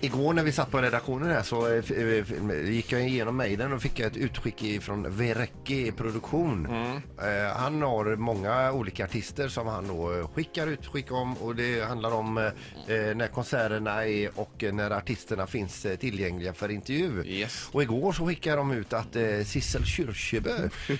Igår när vi satt på redaktionen här så eh, f- eh, gick jag igenom mejlen och fick ett utskick från Verecki Produktion. Eh, Han har många olika artister som han då eh, skickar utskick om och det handlar om eh, eh, när konserterna är och eh, när artisterna finns eh, tillgängliga för intervju. Yes. Och igår så skickade de ut att eh, Sissel Kyrkjebø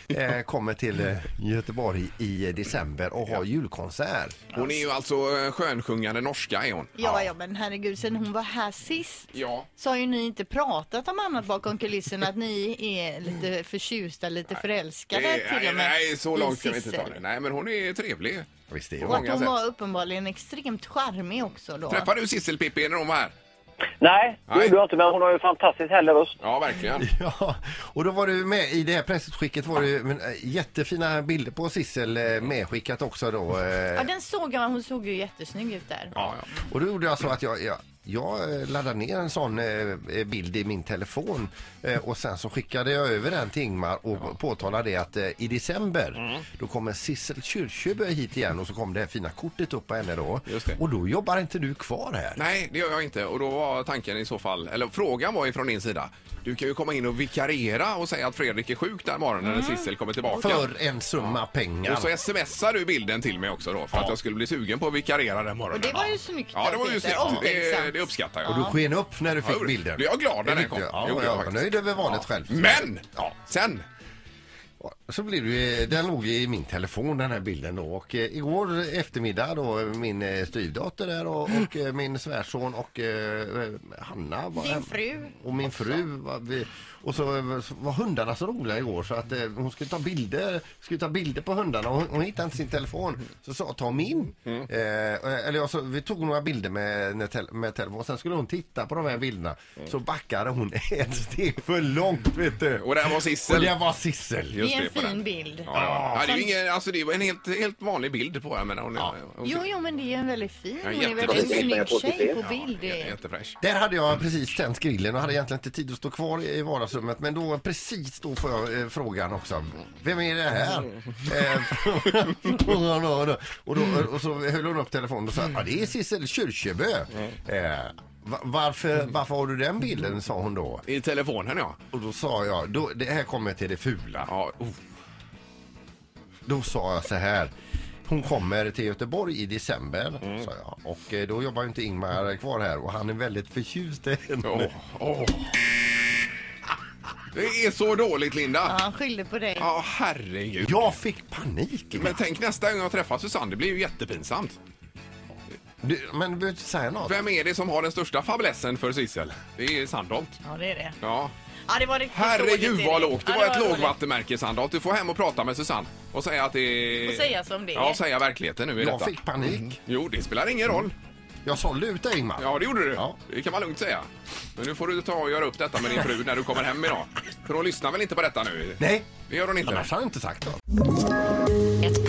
eh, kommer till eh, Göteborg i eh, december och har julkonsert. Hon är ju alltså eh, skönsjungande norska är hon. Ja, ja, men herregud, sen hon var här sist Ja. så har ju ni inte pratat om annat bakom kulisserna, att ni är lite förtjusta, lite förälskade Eh, till nej, och med. nej, så i långt ska vi inte Sissel. ta det. Nej, men hon är trevlig. Visst är det Och att många hon sätt. var uppenbarligen extremt charmig också då. Träffade du Sissel Pippi när hon var här? Nej, det Nej. gjorde jag inte, men hon har ju fantastiskt härlig röst. Ja, verkligen. Ja, och då var du med i det här pressutskicket var det men, eh, jättefina bilder på Sissel eh, medskickat också då. eh, Ja, den såg jag, hon såg ju jättesnygg ut där. Ja, ja. Och då gjorde jag så att jag, jag, jag eh, laddade ner en sån eh, bild i min telefon eh, och sen så skickade jag över den till Ingmar och påtalade det att eh, i december Mm. då kommer Sissel Kyrkjebø hit igen och så kom det här fina kortet upp på henne då. Just det. Och då jobbar inte du kvar här. Nej, det gör jag inte. Och då var tanken i så fall, eller frågan var ifrån din sida. Du kan ju komma in och vikariera och säga att Fredrik är sjuk den morgonen när Sissel kommer tillbaka. För en summa pengar. Och så smsar du bilden till mig också då för att jag skulle bli sugen på att vikariera den morgonen. Och det var ju snyggt Ja, av det var ju Peter. snyggt. Det, Omtänksamt. det uppskattar jag. Och du sken upp när du Ja, fick det- bilden. blev jag glad när Det den fick kom. du. Ja, Det gjorde jag jag var faktiskt. nöjd över valet själv. Men! Sen! Så blev det, den låg ju i min telefon den här bilden då och eh, igår eftermiddag då min eh, styvdotter där och, och eh, min svärson och eh, Hanna var Din hem- fru. och min fru var, vi, och så eh, så var hundarna så roliga igår så att eh, hon skulle ta bilder, skulle ta bilder på hundarna och hon, hon hittade inte sin telefon så sa jag, ta min. Eh, eller jag sa, vi tog några bilder med, med, tel- med telefon sen skulle hon titta på de här bilderna så backade hon ett steg för långt vet du. Och där var Och Sissel. det var Sissel. Det är en det, på fin den. bild. Ja, ja. ja, det är ju ingen, alltså det var en helt, helt vanlig bild på henne. Hon, ja. hon, Jo, jo, men det är en väldigt fin. Hon är jättefin. väldigt Ja, snygg jag får tjej se. på bild. jätte- Det- Jättefräsch. Där hade jag precis tänt grillen och hade egentligen inte tid att stå kvar i i vardagsrummet men då precis då får jag eh, frågan också. Vem är det här? Eh, frågan då, och då- och, då, och så höll hon upp telefonen och sa ja det är Sissel Kyrkjebø. Eh, va- varför, varför har du den bilden sa hon då. I telefonen ja. Och då sa jag, då, det här kommer till det fula. ja oh. Då sa jag så här. Hon kommer till Göteborg i december, sa jag. Och eh, då jobbar ju inte Ingmar kvar här och han är väldigt förtjust i henne. Åh, åh. oh, Det är så dåligt, Ja, Linda. han skyllde på dig. Ja, herregud. Jag fick panik. Men tänk nästa gång jag träffar Susanne, det blir ju jättepinsamt. Du, men du behöver inte säga något. Vem är det som har den största fablessen för Sissel? Det är Sandholt. Ja, det är det. Ja. Ja, det var riktigt Herregud dåligt, vad Erik. lågt. Det Ja, var ett dåligt. lågvattenmärke Sandholt. Du får hem och prata med Susanne och säga att det är... Och säga som det är. Ja, säga verkligheten nu i Jag detta. fick panik. Jo, det spelar ingen roll. Jag sålde ut dig Ingmar. Ja, det gjorde du. Ja. Det kan man lugnt säga. Men nu får du ta och göra upp detta med din fru när du kommer hem idag. För hon lyssnar väl inte på detta nu? Nej, Det gör hon inte. annars hade jag inte sagt något. Ett